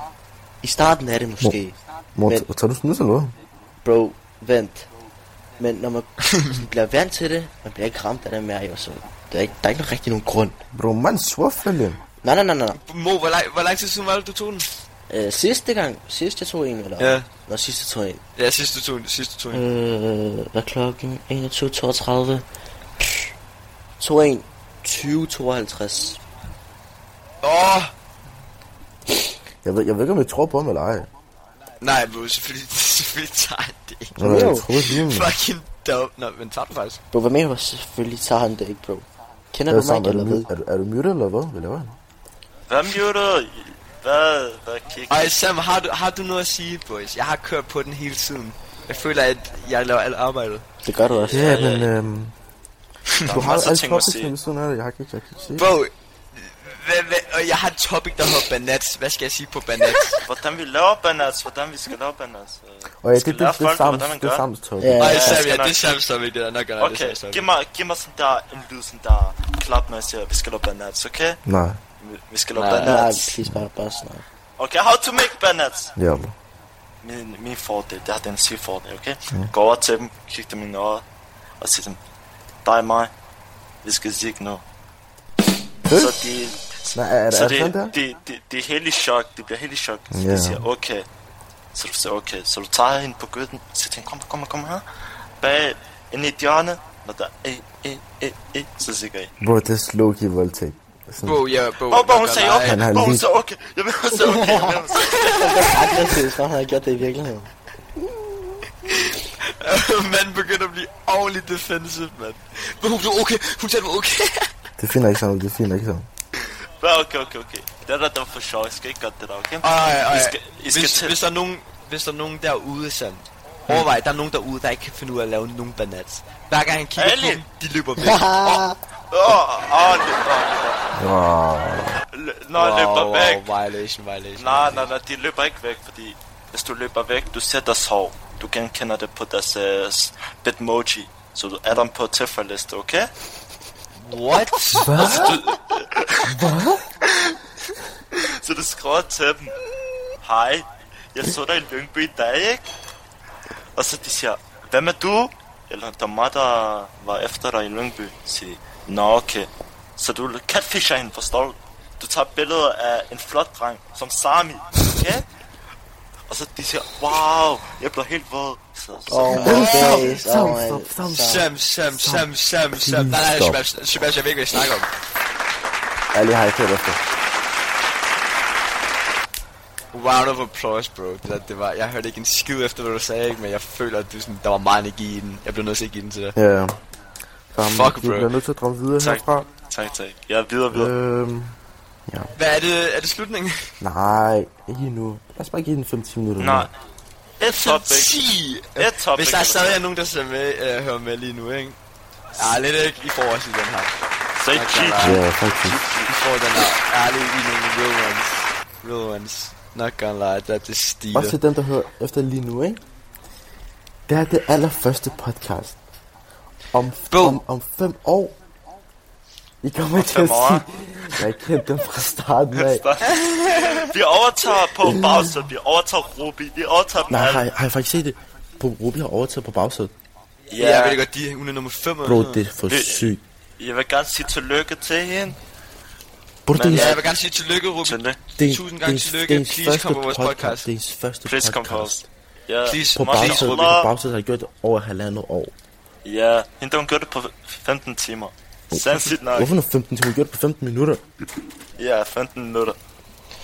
Speaker 5: i starten er det måske.
Speaker 3: Mor,
Speaker 5: Men-
Speaker 3: t- tager du snus eller hvad?
Speaker 5: Bro, vent. Men når man bliver vant til det, man bliver ikke ramt af det mere, jo, så der er ikke, der er ikke rigtig nogen grund.
Speaker 3: Bro, man, swaffelin.
Speaker 5: Nej, nej, nej, nej. nej.
Speaker 4: Mo, hvor, lang, hvor lang tid siden var det, du tog den?
Speaker 5: Øh, sidste gang, sidste jeg tog en, eller?
Speaker 4: Ja.
Speaker 5: Nå, sidste tog en.
Speaker 4: Ja, sidste du tog den. Sidste du tog den.
Speaker 5: Øh, hvad er klokken? 21.32. 21. 20.52.
Speaker 4: Åh! Oh,
Speaker 3: Jeg ved, jeg ved ikke, om jeg tror på ham eller ej.
Speaker 4: nej, bro, selvfølgelig, selvfølgelig tager jeg det ikke.
Speaker 2: Mm.
Speaker 3: Eller, jeg tror lige, men...
Speaker 4: Fucking Dog. Nå, men tager du faktisk?
Speaker 5: Bro, hvad mener du? Selvfølgelig tager han det ikke, bro. Kender
Speaker 3: Er
Speaker 5: du
Speaker 3: du,
Speaker 5: mig
Speaker 3: sammen, er,
Speaker 5: ikke,
Speaker 3: du,
Speaker 5: eller hvad?
Speaker 3: mute- er, du, er du muted, eller hvad? Hvad laver han?
Speaker 2: Hvad muted? Hvad? Hvad kig?
Speaker 4: Ej, Sam, har du, har du noget at sige, boys? Jeg har kørt på den hele tiden. Jeg føler, at jeg laver alt arbejdet.
Speaker 5: Det gør du også.
Speaker 3: Ja, men øhm, du har
Speaker 2: masser af
Speaker 3: alle
Speaker 2: ting at
Speaker 3: topics
Speaker 2: sige.
Speaker 3: ved siden af det. Jeg kan ikke jeg kan ikke se.
Speaker 4: Bro, hvad, hvad, og jeg har et topic, der hedder banats. Hvad skal jeg sige på banats?
Speaker 2: Hvordan vi laver bananas? Hvordan vi skal lave bananas? øh,
Speaker 3: Og ja, det,
Speaker 2: skal
Speaker 3: det, det,
Speaker 2: lære
Speaker 3: det er
Speaker 2: folk,
Speaker 3: samme,
Speaker 2: hvordan man
Speaker 3: det er
Speaker 2: gør.
Speaker 3: samme topic.
Speaker 5: Ja,
Speaker 4: Ej,
Speaker 5: ja,
Speaker 2: jeg
Speaker 4: Sam,
Speaker 2: skal
Speaker 4: ja,
Speaker 2: nok-
Speaker 4: det er Sam, som ikke det. er Nok gør jeg det,
Speaker 2: Okay,
Speaker 4: Sam, Sam.
Speaker 2: giv mig, giv mig sådan der en lyd, sådan der klap, når jeg siger, vi skal lave bananas, okay?
Speaker 3: Nej,
Speaker 2: Vi, vi skal lave
Speaker 4: Nej.
Speaker 5: Nej,
Speaker 2: bananas.
Speaker 5: please, bare, bare snak.
Speaker 2: Okay, how to make bananas?
Speaker 3: jævla.
Speaker 2: min, min fordel, det har den sige fordel, okay? Mm. Gå over til dem, kig dem i mine øjne, og sig dem, dig og mig, vi skal sige nu. Så de,
Speaker 3: Nej, er, er,
Speaker 2: så
Speaker 3: er det sådan der?
Speaker 2: det, det, det, det er helt i chok, det bliver helt i chok, så
Speaker 3: Ja.
Speaker 2: de siger, okay. Så du siger, okay, så du tager hende på gøden, og siger til hende, kom, kom, kom her, bag, ind i et hjørne, når der er, e, e, e, så siger jeg,
Speaker 3: Bro, det er slow-key voldtægt. Sådan,
Speaker 4: Bro, ja, bro.
Speaker 2: Åh, hvor
Speaker 4: nok
Speaker 2: hun
Speaker 4: gør
Speaker 2: sagde
Speaker 4: dig.
Speaker 2: okay,
Speaker 3: Han har
Speaker 2: hvor hun
Speaker 3: lige-
Speaker 2: sagde okay, jeg mener, hun sagde okay, jeg mener, hun sagde
Speaker 5: Aggressivt, når han har gjort det i virkeligheden.
Speaker 4: man begynder at blive overly defensive, mand. Men hun blev okay, hun sagde, hun var okay.
Speaker 3: det finder ikke sammen, det finder ikke sammen.
Speaker 2: okay, okay, okay, okay, det der, der var for sjov, jeg skal ikke gøre det der, okay?
Speaker 4: Ej, ej,
Speaker 2: I skal, I skal
Speaker 4: hvis,
Speaker 2: til-
Speaker 4: hvis, der er nogen, hvis der er nogen derude, Sam. Overvej, der er nogen derude, der ikke kan finde ud af at lave nogen banats. Hver gang han kigger
Speaker 2: Ali.
Speaker 4: på dem, de løber væk.
Speaker 2: Åh, åh, løb- åh, løb- løb- Nå, jeg løber væk.
Speaker 4: violation, violation.
Speaker 2: Nej, nej, nej, de løber ikke væk, fordi hvis du løber væk, du ser deres hår. Du genkender det på deres uh, bitmoji. Så du er dem på tilfældeliste, okay?
Speaker 4: What?
Speaker 2: Så du skriver til dem. Hej, jeg så dig i Lyngby i dag, ikke? Og så de siger, hvem er du? Eller der er mig, der var efter dig i Lyngby. Så siger de, nå okay. Så du catfisher hende, forstår du? Du tager billeder af en flot dreng, som Sami, okay? Og så de siger, wow, jeg bliver helt våd. Så, så,
Speaker 5: Oh my days, oh
Speaker 3: Stop,
Speaker 5: my...
Speaker 3: stop, stop,
Speaker 5: stop.
Speaker 4: Sam, Sam, Sam, Sam, Sam.
Speaker 3: Please
Speaker 4: Nej, nej,
Speaker 3: stop.
Speaker 4: Sebastian, Sebastian, jeg ved ikke, hvad jeg snakker om.
Speaker 3: Ærlig har jeg ikke hørt efter.
Speaker 4: Round of applause, bro. Det, der, det var, jeg hørte ikke en skid efter, hvad du sagde, ikke? men jeg føler, at du, sådan, der var meget energi i den. Jeg blev nødt til at give den til dig.
Speaker 3: Ja, ja. Sammen,
Speaker 4: Fuck,
Speaker 3: vi
Speaker 4: bro.
Speaker 3: bliver nødt til at drømme videre
Speaker 2: Tak.
Speaker 3: herfra.
Speaker 2: tak, tak. Jeg er videre, videre.
Speaker 3: Øhm,
Speaker 4: Hvad er det? Er det slutningen?
Speaker 3: nej, ikke endnu. Lad os bare give den 5-10 minutter.
Speaker 2: Nej. Et topic.
Speaker 4: 10!
Speaker 2: Et topic.
Speaker 4: Hvis der
Speaker 2: eller
Speaker 4: stadig er
Speaker 2: sådan.
Speaker 4: nogen, der ser med, øh, hører med lige nu, ikke? Ja, lidt ikke. I får også i den her.
Speaker 2: Så er I
Speaker 4: Okay,
Speaker 2: GG.
Speaker 3: Ja, faktisk.
Speaker 4: I får den her. Ærligt, I er nogle real ones. Real ones. Not gonna lie, der er det stilet.
Speaker 3: Også til dem, der hører efter lige nu, ikke? Det er det allerførste podcast. Om,
Speaker 4: Boom.
Speaker 3: om, om fem år. I kommer til
Speaker 2: fem
Speaker 3: at
Speaker 2: år.
Speaker 3: sige, jeg kendte dem fra starten af.
Speaker 2: Vi overtager på Bowser, vi overtager Ruby, vi overtager dem
Speaker 3: Nej, har,
Speaker 2: alle.
Speaker 3: jeg- har jeg faktisk set det? På Ruby har overtaget på bagsædet.
Speaker 4: Ja, jeg ved det godt, de, hun er nummer 5.
Speaker 3: Bro, det er for
Speaker 2: Mm. Det-
Speaker 3: sygt.
Speaker 2: Jeg vil gerne sige tillykke til hende.
Speaker 3: Burde det,
Speaker 2: Men
Speaker 3: er
Speaker 4: Ja, jeg
Speaker 3: hendes-
Speaker 4: vil gerne sige tillykke, Ruben.
Speaker 2: Tillykke.
Speaker 3: det, er-
Speaker 4: tusind
Speaker 3: det er
Speaker 4: gange
Speaker 3: hendes-
Speaker 4: tillykke.
Speaker 3: det er hendes
Speaker 4: Please
Speaker 3: første
Speaker 4: kom på vores podcast.
Speaker 3: Det er hendes første
Speaker 2: Please come
Speaker 3: podcast.
Speaker 2: first. Ja,
Speaker 4: Please,
Speaker 3: På
Speaker 4: Må jeg sige
Speaker 3: bagsædet,
Speaker 4: Ruben?
Speaker 3: på
Speaker 2: Ruby.
Speaker 3: bagsædet har jeg gjort det over halvandet år.
Speaker 2: Ja, hende hun gjorde det på 15 timer. Sandsigt nok.
Speaker 3: Hvorfor nu 15 timer? Hun gjorde det på 15 minutter.
Speaker 2: Ja, 15 minutter.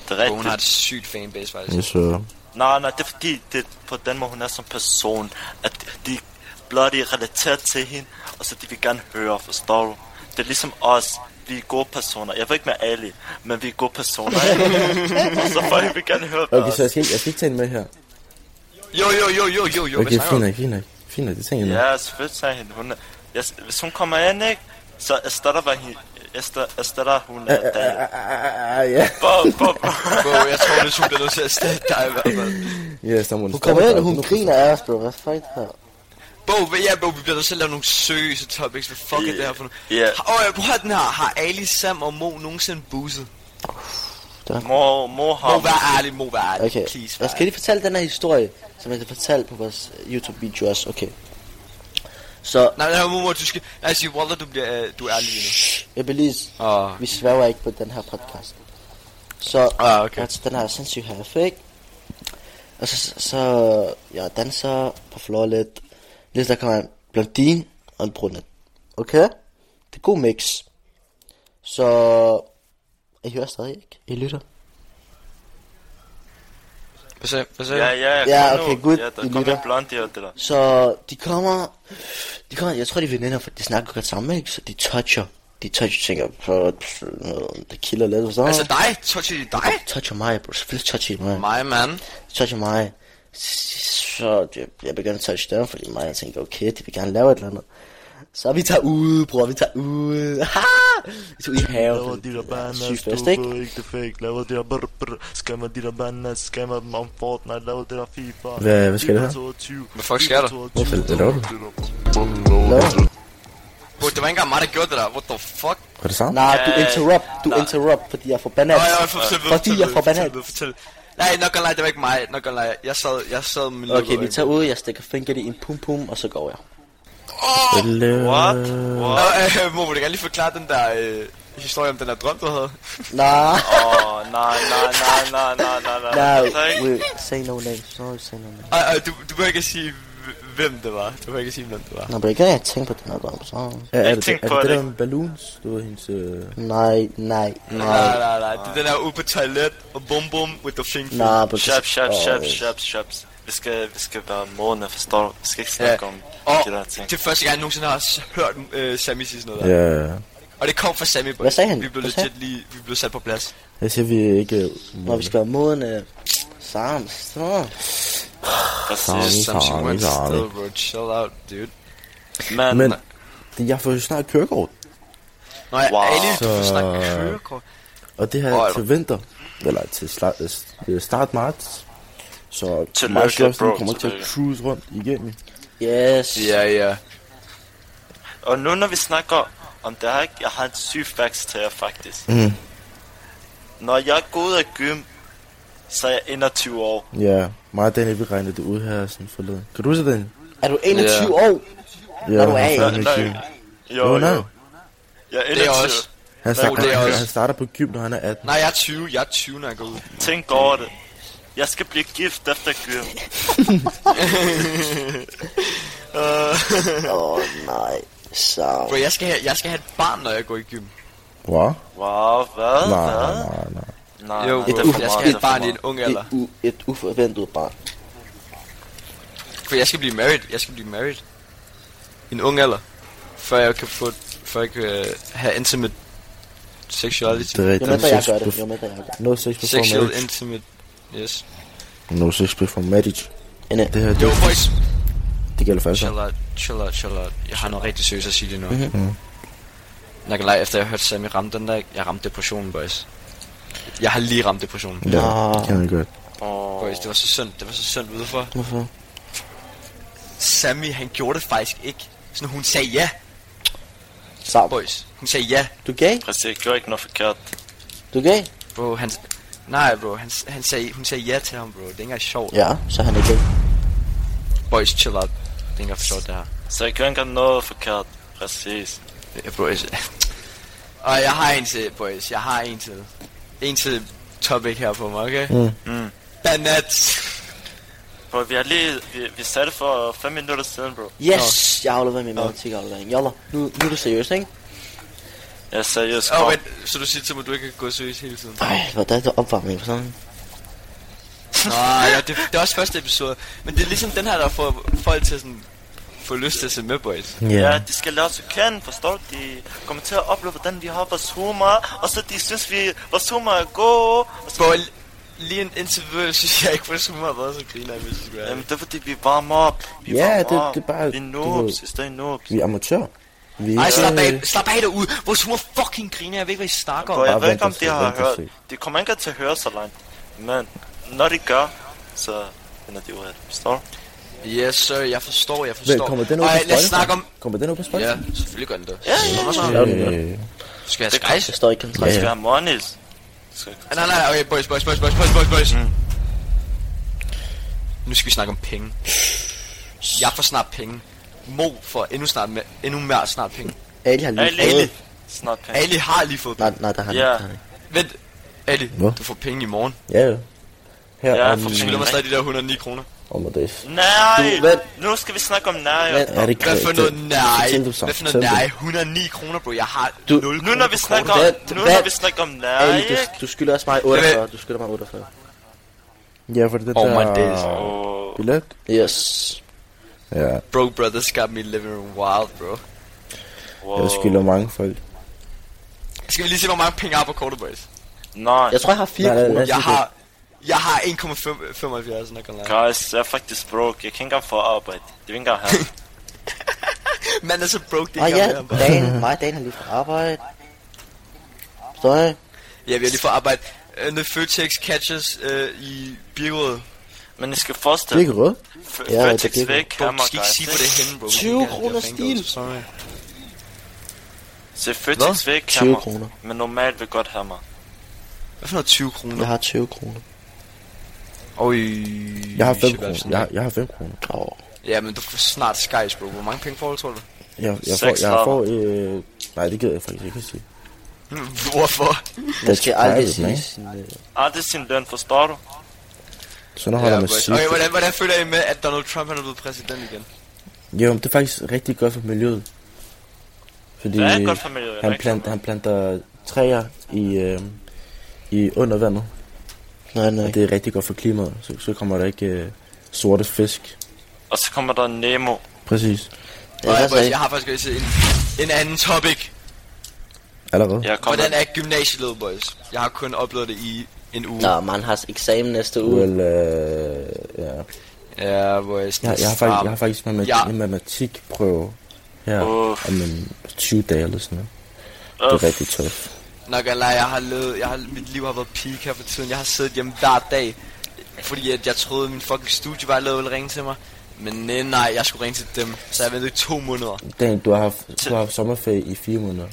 Speaker 2: Det er
Speaker 4: Bro, hun har
Speaker 2: rigtigt.
Speaker 4: et sygt fanbase, faktisk.
Speaker 3: Jeg så...
Speaker 2: Nej, nej, det er fordi, det er på den måde, hun er som person. At de blot de er relateret til hende, og så de vil gerne høre, forstår du? Det er ligesom os. Vi er gode personer. Jeg ved ikke med alle, men vi er gode personer. ikke? og så folk vil gerne høre
Speaker 3: Okay, så jeg skal, ikke, jeg skal ikke tage hende med her.
Speaker 4: Jo, jo, jo, jo, jo, jo.
Speaker 3: Okay,
Speaker 4: hvad snakker
Speaker 3: fint
Speaker 4: du om?
Speaker 3: nok, fint nok. Fint nok, det tænker jeg nu.
Speaker 2: Ja, selvfølgelig sagde hende. Hun, er- jeg, hvis hun kommer ind, ikke? Så erstatter, var hende, erstatter, erstatter hun af Daniel.
Speaker 3: Ah, ja.
Speaker 2: Bum, bum, bum.
Speaker 4: Bro, jeg tror, hvis hun bliver nødt til at stætte dig i hvert fald.
Speaker 3: Ja, someone
Speaker 5: Hun kommer ind, og hun griner af os, bro. Hvad fuck er det
Speaker 4: Bro, hvad- ja, bro, vi bliver nødt til at lave nogle seriøse topics. Hvad fuck er det her for noget?
Speaker 2: Ja.
Speaker 4: Åh, oh, jeg prøver den her. Har Ali, Sam og Mo nogensinde boozet?
Speaker 2: Mor, mor
Speaker 4: Mo,
Speaker 2: har...
Speaker 4: vær ærlig, Mo, vær ærlig.
Speaker 5: Okay,
Speaker 4: Please, vær
Speaker 5: jeg skal lige fortælle den her historie, som jeg har fortalt på vores YouTube-video også, okay. Så,
Speaker 4: Nej, nej, Momo, du skal... Nej, sig, Walter, du bliver... Øh, du er ærlig lige nu.
Speaker 5: jeg belyser,
Speaker 4: Åh.
Speaker 5: vi sværger ikke på den her podcast. Så,
Speaker 4: Ah, okay.
Speaker 5: altså, den her sindssyge her, ikke? Og så, så, jeg danser på floor lidt. Lige så der kommer en blondine og en brunet. Okay? Det er god mix. Så, I hører stadig ikke? I lytter?
Speaker 4: Hvad sagde, hvad sagde
Speaker 2: Ja,
Speaker 4: ja,
Speaker 2: ja,
Speaker 5: Ja,
Speaker 2: kom nu.
Speaker 5: okay, good.
Speaker 2: Ja,
Speaker 5: I
Speaker 2: der kom
Speaker 5: lytter.
Speaker 2: en blond i det der.
Speaker 5: Så de kommer, De kommer, jeg tror, de er veninder, for de snakker godt sammen, ikke? Så de toucher. De toucher tænker, bro, det kilder lidt, og så.
Speaker 4: Altså dig? Touchy dig?
Speaker 5: toucher mig, bro. Selvfølgelig toucher de mig.
Speaker 4: Mig, mand.
Speaker 5: toucher mig. Så jeg, jeg begyndte at touche dem, fordi mig jeg tænkte, okay, de vil gerne lave et eller andet. Så vi tager ud, bror, vi tager ud. Ha! Vi tog i
Speaker 7: Laver
Speaker 5: haven.
Speaker 7: de der
Speaker 5: Det er Syg
Speaker 7: bananas,
Speaker 5: fest,
Speaker 7: du
Speaker 5: ikke?
Speaker 7: ved ikke det fake Laver de der brr brr Skammer de der bananas, skammer dem om Fortnite Laver det der FIFA
Speaker 3: Hvad- hvad sker der her?
Speaker 7: Hvad
Speaker 4: fuck sker der?
Speaker 3: Hvorfor laver du?
Speaker 5: Laver.
Speaker 4: Bro, det var ikke engang mig, der gjorde det der. What the fuck?
Speaker 3: Var det sammen?
Speaker 5: Nej, du interrupt, du interrupt, fordi jeg får banat.
Speaker 4: Nå, jeg får fortælle,
Speaker 5: Fordi jeg får banat.
Speaker 4: Nej, nok og nej, det var ikke mig. Nok og nej. Jeg sad, jeg sad med
Speaker 5: Okay, vi tager ud, jeg stikker fingeren i en pum pum, og så går jeg.
Speaker 3: øh,
Speaker 2: What? What?
Speaker 4: Nå, øh, mor, vil du gerne lige forklare den der øh, historie om den der drøm, du havde?
Speaker 5: Nej,
Speaker 2: Åh, oh, nej, nej, nej, nej, nej, nej, nej.
Speaker 5: nej,
Speaker 2: Der er ikke-
Speaker 5: we say no names, no, say no names.
Speaker 4: Ej, ej, du, du må ikke sige, hv- hvem det var. Du må ikke sige, hvem det var.
Speaker 5: Nå, men jeg kan ikke tænke på den her gang, så...
Speaker 3: Ja, er det det,
Speaker 2: tænkt
Speaker 3: er
Speaker 2: på
Speaker 3: det, det
Speaker 2: det.
Speaker 3: der med balloons? Du ved hendes... Øh...
Speaker 5: Nej, nej, nej.
Speaker 4: Nej, nej, nej. Det er den der ude på toilet og bum bum with the thing.
Speaker 5: Nej, på
Speaker 2: Shab, shab, shab, shab, shab. Vi skal, vi skal være måne, forstår du? Vi skal ikke snakke om
Speaker 4: Og
Speaker 2: de der ting.
Speaker 4: det er første gang, jeg nogensinde har s- hørt øh, Sammy sige sådan noget der.
Speaker 3: Ja, ja, ja.
Speaker 4: Og det kom fra Sammy. bro.
Speaker 5: Hvad sagde han?
Speaker 4: Vi blev
Speaker 5: Hvad sagde
Speaker 4: legit lige, vi blev sat på plads.
Speaker 3: Jeg siger, vi er ikke...
Speaker 5: Når vi skal være modne sammen, så...
Speaker 2: Præcis.
Speaker 3: Sammy,
Speaker 4: Samsung
Speaker 3: Sammy,
Speaker 4: went
Speaker 3: Sammy.
Speaker 4: still, bro. Chill out, dude.
Speaker 2: Men,
Speaker 3: Men det- jeg får jo snart kørekort,
Speaker 4: Nå, jeg
Speaker 2: Wow.
Speaker 4: wow. Ali, du får
Speaker 3: Så-
Speaker 4: snakket kørekort.
Speaker 3: og det her
Speaker 4: Åh,
Speaker 3: er
Speaker 4: ja.
Speaker 3: til vinter, eller til start, øh, start marts. Så
Speaker 2: Tillykke,
Speaker 3: Mark Jørgensen
Speaker 2: bro,
Speaker 3: kommer til at
Speaker 2: tillykke.
Speaker 3: cruise rundt igennem.
Speaker 5: Yes.
Speaker 4: Ja, ja.
Speaker 2: og nu når vi snakker om det her, ikke? jeg har en syg facts til jer faktisk.
Speaker 5: Mm.
Speaker 3: Mhm.
Speaker 2: Når jeg går ud af gym, så er jeg 21 år.
Speaker 3: Ja, mig og Daniel, vi regnede det ud her sådan forleden. Kan du huske det, Daniel?
Speaker 5: Er du 21
Speaker 4: Ja.
Speaker 5: år?
Speaker 3: Ja,
Speaker 5: du
Speaker 3: han
Speaker 5: af.
Speaker 3: starter i
Speaker 2: Nej.
Speaker 3: gym.
Speaker 2: Jo,
Speaker 3: Jo, nej.
Speaker 2: Jeg er
Speaker 4: Det er
Speaker 2: 21.
Speaker 4: også.
Speaker 3: Han,
Speaker 4: Jo, det er
Speaker 3: starter, han,
Speaker 4: også-
Speaker 3: han starter på gym, når han er 18.
Speaker 4: Nej, jeg er 20. Jeg er 20, når jeg går ud.
Speaker 2: Tænk over det. Jeg skal blive gift efter gym.
Speaker 5: Åh, oh, nej.
Speaker 4: Bro,
Speaker 5: Så...
Speaker 4: jeg skal, have, jeg skal have et barn, når jeg går i gym.
Speaker 3: Wow.
Speaker 2: Wow, hvad?
Speaker 3: Nej,
Speaker 2: hvad?
Speaker 3: nej, nej.
Speaker 2: Nej,
Speaker 4: Jo,
Speaker 2: nej,
Speaker 4: bro,
Speaker 2: Ah, det er for
Speaker 4: jeg
Speaker 2: meget, det
Speaker 4: skal have
Speaker 2: er
Speaker 4: et
Speaker 2: for
Speaker 4: barn i
Speaker 2: meget.
Speaker 4: en ung
Speaker 5: Et,
Speaker 4: alder.
Speaker 5: u- et uforventet barn.
Speaker 4: For jeg skal blive married. Jeg skal blive married. I en ung alder. Før jeg kan få... Før jeg kan øh, have intimate sexuality.
Speaker 3: Det er
Speaker 5: Jo
Speaker 3: rigtigt.
Speaker 5: mindre jeg
Speaker 3: Sex
Speaker 5: gør det, jo
Speaker 3: bef-
Speaker 5: mindre jeg gør det.
Speaker 3: No sex before
Speaker 4: Sexual
Speaker 3: marriage.
Speaker 4: intimate. Yes.
Speaker 3: No sex before marriage.
Speaker 5: Inde.
Speaker 3: Det her,
Speaker 4: Yo,
Speaker 3: det,
Speaker 4: boys.
Speaker 3: det gælder faktisk.
Speaker 4: Chill out, chill out, chill out. Jeg har noget rigtig seriøst at sige lige nu.
Speaker 5: Mhm.
Speaker 4: Mm-hmm. Jeg kan lege, efter jeg hørte Sammy ramme den der, jeg ramte depressionen, boys. Jeg har lige ramt depressionen.
Speaker 3: Ja, det kan jeg godt.
Speaker 4: Boys, det var så synd, det var så synd udenfor.
Speaker 5: Hvorfor?
Speaker 4: Sammy, han gjorde det faktisk ikke. Sådan, hun sagde ja,
Speaker 5: Sammen.
Speaker 4: boys. Hun sagde ja.
Speaker 5: Du er gay?
Speaker 2: Præcis, jeg gjorde ikke noget forkert.
Speaker 5: Du er gay?
Speaker 4: Bro, han... Nej, bro, han, han sagde, hun sagde ja til ham, bro. Det er ikke engang sjovt.
Speaker 5: Ja, så er han er gay.
Speaker 4: Boys, chill out. Det er ikke engang for sjovt, det her.
Speaker 2: Så jeg gjorde ikke noget forkert. Præcis.
Speaker 4: Ja, boys. Øh, Og jeg har en til, boys. Jeg har en til. En til topic her på mig, okay? Mm.
Speaker 2: Mm.
Speaker 4: Banat.
Speaker 2: Bro, vi har lige... Vi, vi sagde det for 5 minutter siden, bro.
Speaker 5: Yes! Jeg har afleveret min matematik aflevering. Jolla, nu, nu er du seriøs, ikke?
Speaker 2: Jeg er seriøst.
Speaker 4: Åh,
Speaker 2: kom.
Speaker 4: oh, vent, så du siger til mig, at du ikke kan gå seriøst hele tiden?
Speaker 5: Ej, hvordan er det opvarmning for sådan?
Speaker 4: Nej, ja, det, det er også første episode. Men det er ligesom den her, der får folk til sådan, få lyst til at se med, boys.
Speaker 2: Ja, de skal lære os at kende, forstår du? De kommer til at opleve, hvordan vi har vores humor, og så de synes, vi vores humor er god. Og så,
Speaker 4: Bro, l- lige en indtil videre, synes jeg ikke, hvor så meget været så griner, jeg, hvis du gør
Speaker 2: Jamen, det er fordi, vi varmer op. Vi
Speaker 3: Ja,
Speaker 2: varmer
Speaker 3: det-
Speaker 2: op.
Speaker 3: det er bare-
Speaker 2: Vi er
Speaker 3: du ved-
Speaker 2: noobs, det er noobs.
Speaker 3: Vi er amatører. Vi er
Speaker 4: Ej, slap
Speaker 3: ikke-
Speaker 4: af, slap af derude. Vores humor fucking griner, jeg ved ikke, hvad I snakker
Speaker 2: Bro,
Speaker 4: om.
Speaker 2: jeg
Speaker 3: Bare
Speaker 2: ved ikke, om
Speaker 3: vent og
Speaker 2: de
Speaker 3: se,
Speaker 2: har
Speaker 3: vent og
Speaker 2: hørt.
Speaker 3: se.
Speaker 2: De kommer ikke til at høre så langt. Men når de gør, så finder de ud af det, forstår du?
Speaker 4: Yes, sir, jeg forstår, jeg
Speaker 3: Vel,
Speaker 4: forstår.
Speaker 3: kommer den ud på
Speaker 4: Ej,
Speaker 3: Spotify?
Speaker 4: lad os snakke om...
Speaker 3: Kommer den ud på Spotify?
Speaker 4: Ja, selvfølgelig gør den det.
Speaker 3: Ja,
Speaker 4: Ja,
Speaker 3: ja,
Speaker 5: Øh,
Speaker 3: ja.
Speaker 4: Skal jeg have
Speaker 5: Jeg
Speaker 4: skies?
Speaker 5: står ikke i
Speaker 2: Det
Speaker 5: kontrakt.
Speaker 2: skal være monies.
Speaker 4: Ah, Nej, nej, nej, okay, boys, boys, boys, boys, boys, boys, boys. Mm. Nu skal vi snakke om penge. Jeg får snart penge. Mo får endnu, snart med, endnu mere snart penge.
Speaker 5: Ali har lige
Speaker 2: Ali.
Speaker 5: fået...
Speaker 2: Snart penge.
Speaker 4: Ali har lige fået
Speaker 5: Nej,
Speaker 4: penge.
Speaker 5: nej, der har han
Speaker 2: Ja.
Speaker 5: ikke. der har han ikke.
Speaker 4: Vent, Ali,
Speaker 3: Hvad?
Speaker 4: du får penge i morgen.
Speaker 3: Ja, ja. Her
Speaker 2: Ja,
Speaker 3: ja,
Speaker 2: for
Speaker 4: Du
Speaker 2: Mm.
Speaker 4: skylder mig stadig de der 109 kroner.
Speaker 3: om om days.
Speaker 2: Nej!
Speaker 5: Du, vent.
Speaker 2: Nu skal vi snakke om nej.
Speaker 5: Vent.
Speaker 3: Er det
Speaker 4: Hvad for noget nej?
Speaker 3: Fortæl du så.
Speaker 4: Hvad for
Speaker 3: Fortæl
Speaker 4: noget
Speaker 3: du.
Speaker 4: nej? 109 kroner, bro. Jeg har
Speaker 5: Du-
Speaker 4: 0 kroner
Speaker 2: Nu når vi
Speaker 4: på
Speaker 2: snakker,
Speaker 4: kortet.
Speaker 5: Vent,
Speaker 2: nu når
Speaker 5: vent.
Speaker 2: vi snakker om nej,
Speaker 5: Ali, du,
Speaker 2: ikke?
Speaker 5: du skylder også mig 48. Du skylder mig 48.
Speaker 3: Ja, for det er den
Speaker 4: Oh my
Speaker 3: der
Speaker 4: days.
Speaker 2: Åh,
Speaker 3: billet.
Speaker 5: Yes.
Speaker 3: Ja,
Speaker 4: Bro Brothers got me living wild, bro.
Speaker 2: Wow.
Speaker 3: jeg skylder mange folk.
Speaker 4: Skal vi lige se, hvor mange penge jeg har på Quarter Boys?
Speaker 2: Nej,
Speaker 5: Jeg tror, jeg har fire
Speaker 3: Nej, nej,
Speaker 5: kroner.
Speaker 3: nej.
Speaker 5: Ja.
Speaker 4: Jeg
Speaker 3: det-
Speaker 4: har... Jeg har 1,75, nok online.
Speaker 2: guys, jeg er faktisk broke. Jeg kan ikke engang få arbejde. Det vil ikke engang have.
Speaker 4: Man er så broke, det
Speaker 5: Ah,
Speaker 4: ikke
Speaker 5: ja,
Speaker 4: er mere, bro.
Speaker 5: Dan, mig og Dan har lige fra arbejde. Forstår jeg?
Speaker 4: Ja, vi har lige fået arbejde. Uh, the Føtex catches uh, i Birkerød.
Speaker 2: Men I skal
Speaker 3: Det er
Speaker 2: forestille,
Speaker 3: ikke rød.
Speaker 2: F-
Speaker 5: Ja,
Speaker 2: Føtex
Speaker 5: det er
Speaker 2: væk,
Speaker 4: Bro, du
Speaker 2: hammer,
Speaker 4: skal ikke sige, hvor det er henne, bro.
Speaker 5: 20 kroner stil.
Speaker 4: Sorry.
Speaker 2: Se Føtex væk,
Speaker 5: 20
Speaker 2: hammer.
Speaker 5: kroner.
Speaker 2: Men normalt vil godt hammer.
Speaker 4: Hvad for noget 20
Speaker 5: Jeg
Speaker 4: kroner?
Speaker 5: har 20 kroner.
Speaker 4: Oj,
Speaker 3: Jeg har 5 kroner. Jeg, har- jeg har 5 kroner.
Speaker 5: Åh,
Speaker 4: Ja, men du får snart skies, bro. Hvor mange penge får du, tror du?
Speaker 3: Jeg, jeg får,
Speaker 2: Seks
Speaker 3: jeg
Speaker 2: strammer.
Speaker 3: får, øh, nej, det gider jeg faktisk ikke at sige.
Speaker 4: Hvorfor?
Speaker 5: man skal aldrig
Speaker 3: private,
Speaker 5: sige
Speaker 3: man.
Speaker 5: sin... øh,
Speaker 2: Ah, det er sin løn, forstår du?
Speaker 3: Så nu holder man
Speaker 4: boys.
Speaker 3: sig.
Speaker 4: okay, hvordan, hvordan føler I med, at Donald Trump han er blevet præsident igen?
Speaker 3: Jo, men det er faktisk rigtig godt for miljøet. Fordi
Speaker 2: Det er godt for miljøet,
Speaker 3: han,
Speaker 2: rigtig
Speaker 3: plant,
Speaker 2: godt.
Speaker 3: han planter træer i, øh, i under vandet,
Speaker 5: Nej, nej.
Speaker 3: og det er rigtig godt for klimaet. Så, så kommer der ikke øh, sorte fisk.
Speaker 2: Og så kommer der Nemo.
Speaker 3: Præcis.
Speaker 5: Ja,
Speaker 4: Alright,
Speaker 5: hvad
Speaker 4: boys,
Speaker 5: sagde
Speaker 4: jeg har faktisk også en, en anden topic.
Speaker 3: Allerede. Ja.
Speaker 2: Jeg kommer...
Speaker 4: Hvordan er gymnasielivet, boys? Jeg har kun oplevet det i en uge.
Speaker 5: Nå, man har eksamen næste uge.
Speaker 3: Well, øh, ja.
Speaker 4: Ja, boys.
Speaker 3: jeg, jeg, har faktisk, jeg har faktisk matematik,
Speaker 4: Ja.
Speaker 3: ja. en matematikprøve her
Speaker 2: Uff.
Speaker 3: om en 20 dage eller sådan noget.
Speaker 2: Øh,
Speaker 3: Det er rigtig tøft.
Speaker 4: Nok eller jeg har levet, jeg har, mit liv har været peak her for tiden. Jeg har siddet hjemme hver dag, fordi at jeg troede, min fucking studievejleder ville ringe til mig. Men nej, nej, jeg skulle ringe til dem, så jeg ventede i to måneder.
Speaker 3: Dan, du har haft, du har haft sommerferie i fire måneder.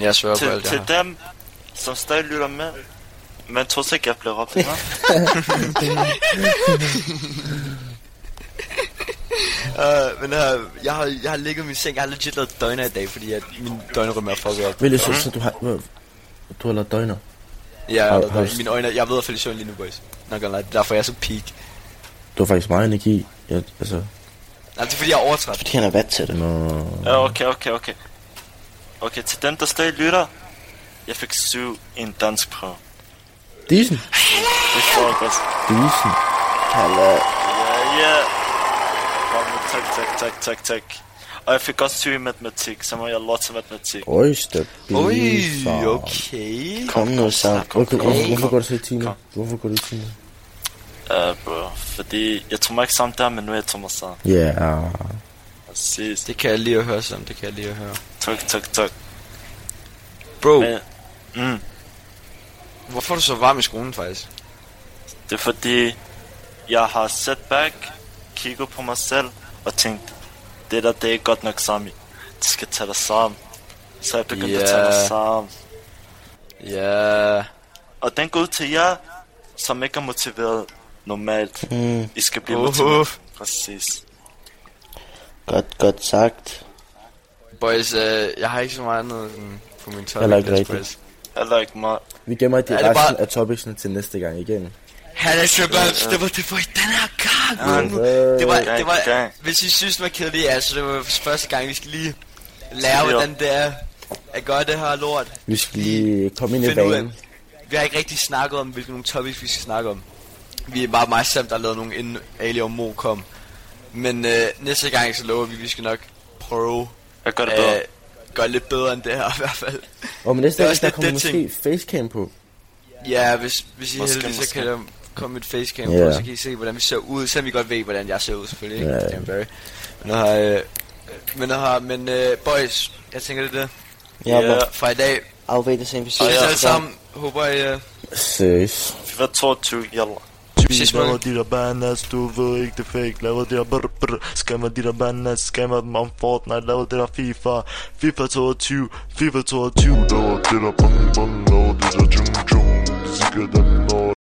Speaker 4: Jeg sværger på
Speaker 2: til,
Speaker 4: alt, jeg
Speaker 2: til
Speaker 4: har.
Speaker 2: dem, som stadig lytter med, man tror så ikke, jeg bliver råbt, hva'?
Speaker 4: Uh, men uh, jeg, har, jeg har ligget i min seng, jeg har legit lavet døgner i dag, fordi at min døgnrymme er fucked op.
Speaker 3: Vil jeg
Speaker 2: Mhm.
Speaker 3: så, så du har, du har lavet døgner?
Speaker 4: Ja, jeg,
Speaker 3: Har-
Speaker 4: har,
Speaker 3: har
Speaker 4: har,
Speaker 3: du-
Speaker 4: mine øjne, jeg ved at falde i søvn lige nu, boys. Nok eller derfor er jeg så peak.
Speaker 3: Du har faktisk meget energi. Jeg, altså,
Speaker 4: Nej, det er fordi, jeg er overtræt.
Speaker 5: Fordi han er vant til det.
Speaker 3: nå,
Speaker 2: Ja, okay, okay, okay. Okay, til dem, der stadig lytter, jeg fik syv i en dansk prøve.
Speaker 3: Disen.
Speaker 2: Det får jeg godt.
Speaker 3: Disen.
Speaker 2: Ja, ja. Kom nu, tak, tak, tak, tak, tak. Og jeg fik også syv i matematik, så må jeg lot til matematik.
Speaker 3: Oj, stabil.
Speaker 4: Oj,
Speaker 3: far.
Speaker 4: okay.
Speaker 5: Kom nu så.
Speaker 3: Okay, hvorfor,
Speaker 2: Kom,
Speaker 3: hvorfor
Speaker 2: kom.
Speaker 3: går du så i timer?
Speaker 2: Kom.
Speaker 3: Hvorfor går du i timer?
Speaker 2: Ja, Øh, bro. Fordi jeg tror mig ikke sammen der, men nu er jeg Thomas sammen.
Speaker 3: Ja,
Speaker 2: Præcis.
Speaker 4: Det kan jeg lige at høre, Sam. Det kan jeg lige at høre.
Speaker 2: Tak, tak, tak.
Speaker 4: Bro,
Speaker 2: Men, mm,
Speaker 4: hvorfor er du så varm i skolen, faktisk?
Speaker 2: det er fordi, jeg har setback, kigget på mig selv og tænkt, det der, det er ikke godt nok Sami. Det skal tage dig sammen. Så jeg begyndte yeah. at tage
Speaker 4: Ja.
Speaker 2: mig sammen.
Speaker 4: Ja... Yeah.
Speaker 2: Og den går ud til jer, som ikke er motiveret normalt. Mm. I skal blive
Speaker 4: Uhuh.
Speaker 2: motiveret. Præcis.
Speaker 5: Godt, godt sagt.
Speaker 4: Boys, øh, jeg har ikke så meget andet sådan, på min topic
Speaker 3: Heller ikke
Speaker 4: list,
Speaker 3: rigtigt.
Speaker 4: boys.
Speaker 2: Heller ikke mig.
Speaker 3: vi gemmer de
Speaker 4: Er det
Speaker 3: resten
Speaker 4: bare-
Speaker 3: af topicsene til næste gang igen.
Speaker 4: Han er så godt, det var det for i den her
Speaker 2: Ja,
Speaker 4: gang. Det var, det
Speaker 2: ja.
Speaker 4: var, hvis I synes, det var kedeligt, altså det var første gang, vi skal lige lære,
Speaker 2: Ja.
Speaker 4: hvordan det er at gøre det her lort.
Speaker 3: Vi skal lige komme ind i
Speaker 4: Finde ud af.
Speaker 3: banen.
Speaker 4: Vi har ikke rigtig snakket om, hvilke nogle topics vi skal snakke om. Vi er bare mig og Sam, der har lavet nogle inden Ali og Mo kom. Men øh, næste gang, så lover vi, vi skal nok prøve
Speaker 2: Jeg gør det bedre.
Speaker 4: at gøre lidt bedre end det her i hvert fald.
Speaker 3: Og men næste
Speaker 4: Det er
Speaker 3: gang,
Speaker 4: også
Speaker 3: der
Speaker 4: lidt
Speaker 3: kommer
Speaker 4: den
Speaker 3: måske
Speaker 4: ting.
Speaker 3: facecam på.
Speaker 4: Ja, hvis, hvis I er
Speaker 2: Måske,
Speaker 4: heldige, så
Speaker 2: måske.
Speaker 4: kan der komme et facecam
Speaker 3: Ja.
Speaker 4: på, så kan I se, hvordan vi ser ud. Selvom I godt ved, hvordan jeg ser ud, selvfølgelig. Ikke?
Speaker 3: Ja, ja.
Speaker 4: Damn, Barry. Men, har, øh, men, har, men øh, boys, jeg tænker, det er det.
Speaker 5: Ja,
Speaker 2: Ja.
Speaker 5: man.
Speaker 4: Fra i dag,
Speaker 5: Afvente sig, vi ses.
Speaker 4: ses
Speaker 2: ja.
Speaker 4: alle sammen. Håber, I øh,
Speaker 3: Seriøs.
Speaker 2: Vi var 22, jalla.
Speaker 8: Vi
Speaker 4: ses
Speaker 8: laver
Speaker 4: med.
Speaker 8: de der bananas, du ved ikke det er fake Laver de der brr brr Skammer de der bananas, skammer dem om Fortnite Laver det der FIFA FIFA 22, FIFA 22 Laver det der bang bang, laver det der jung jung Sikker dem når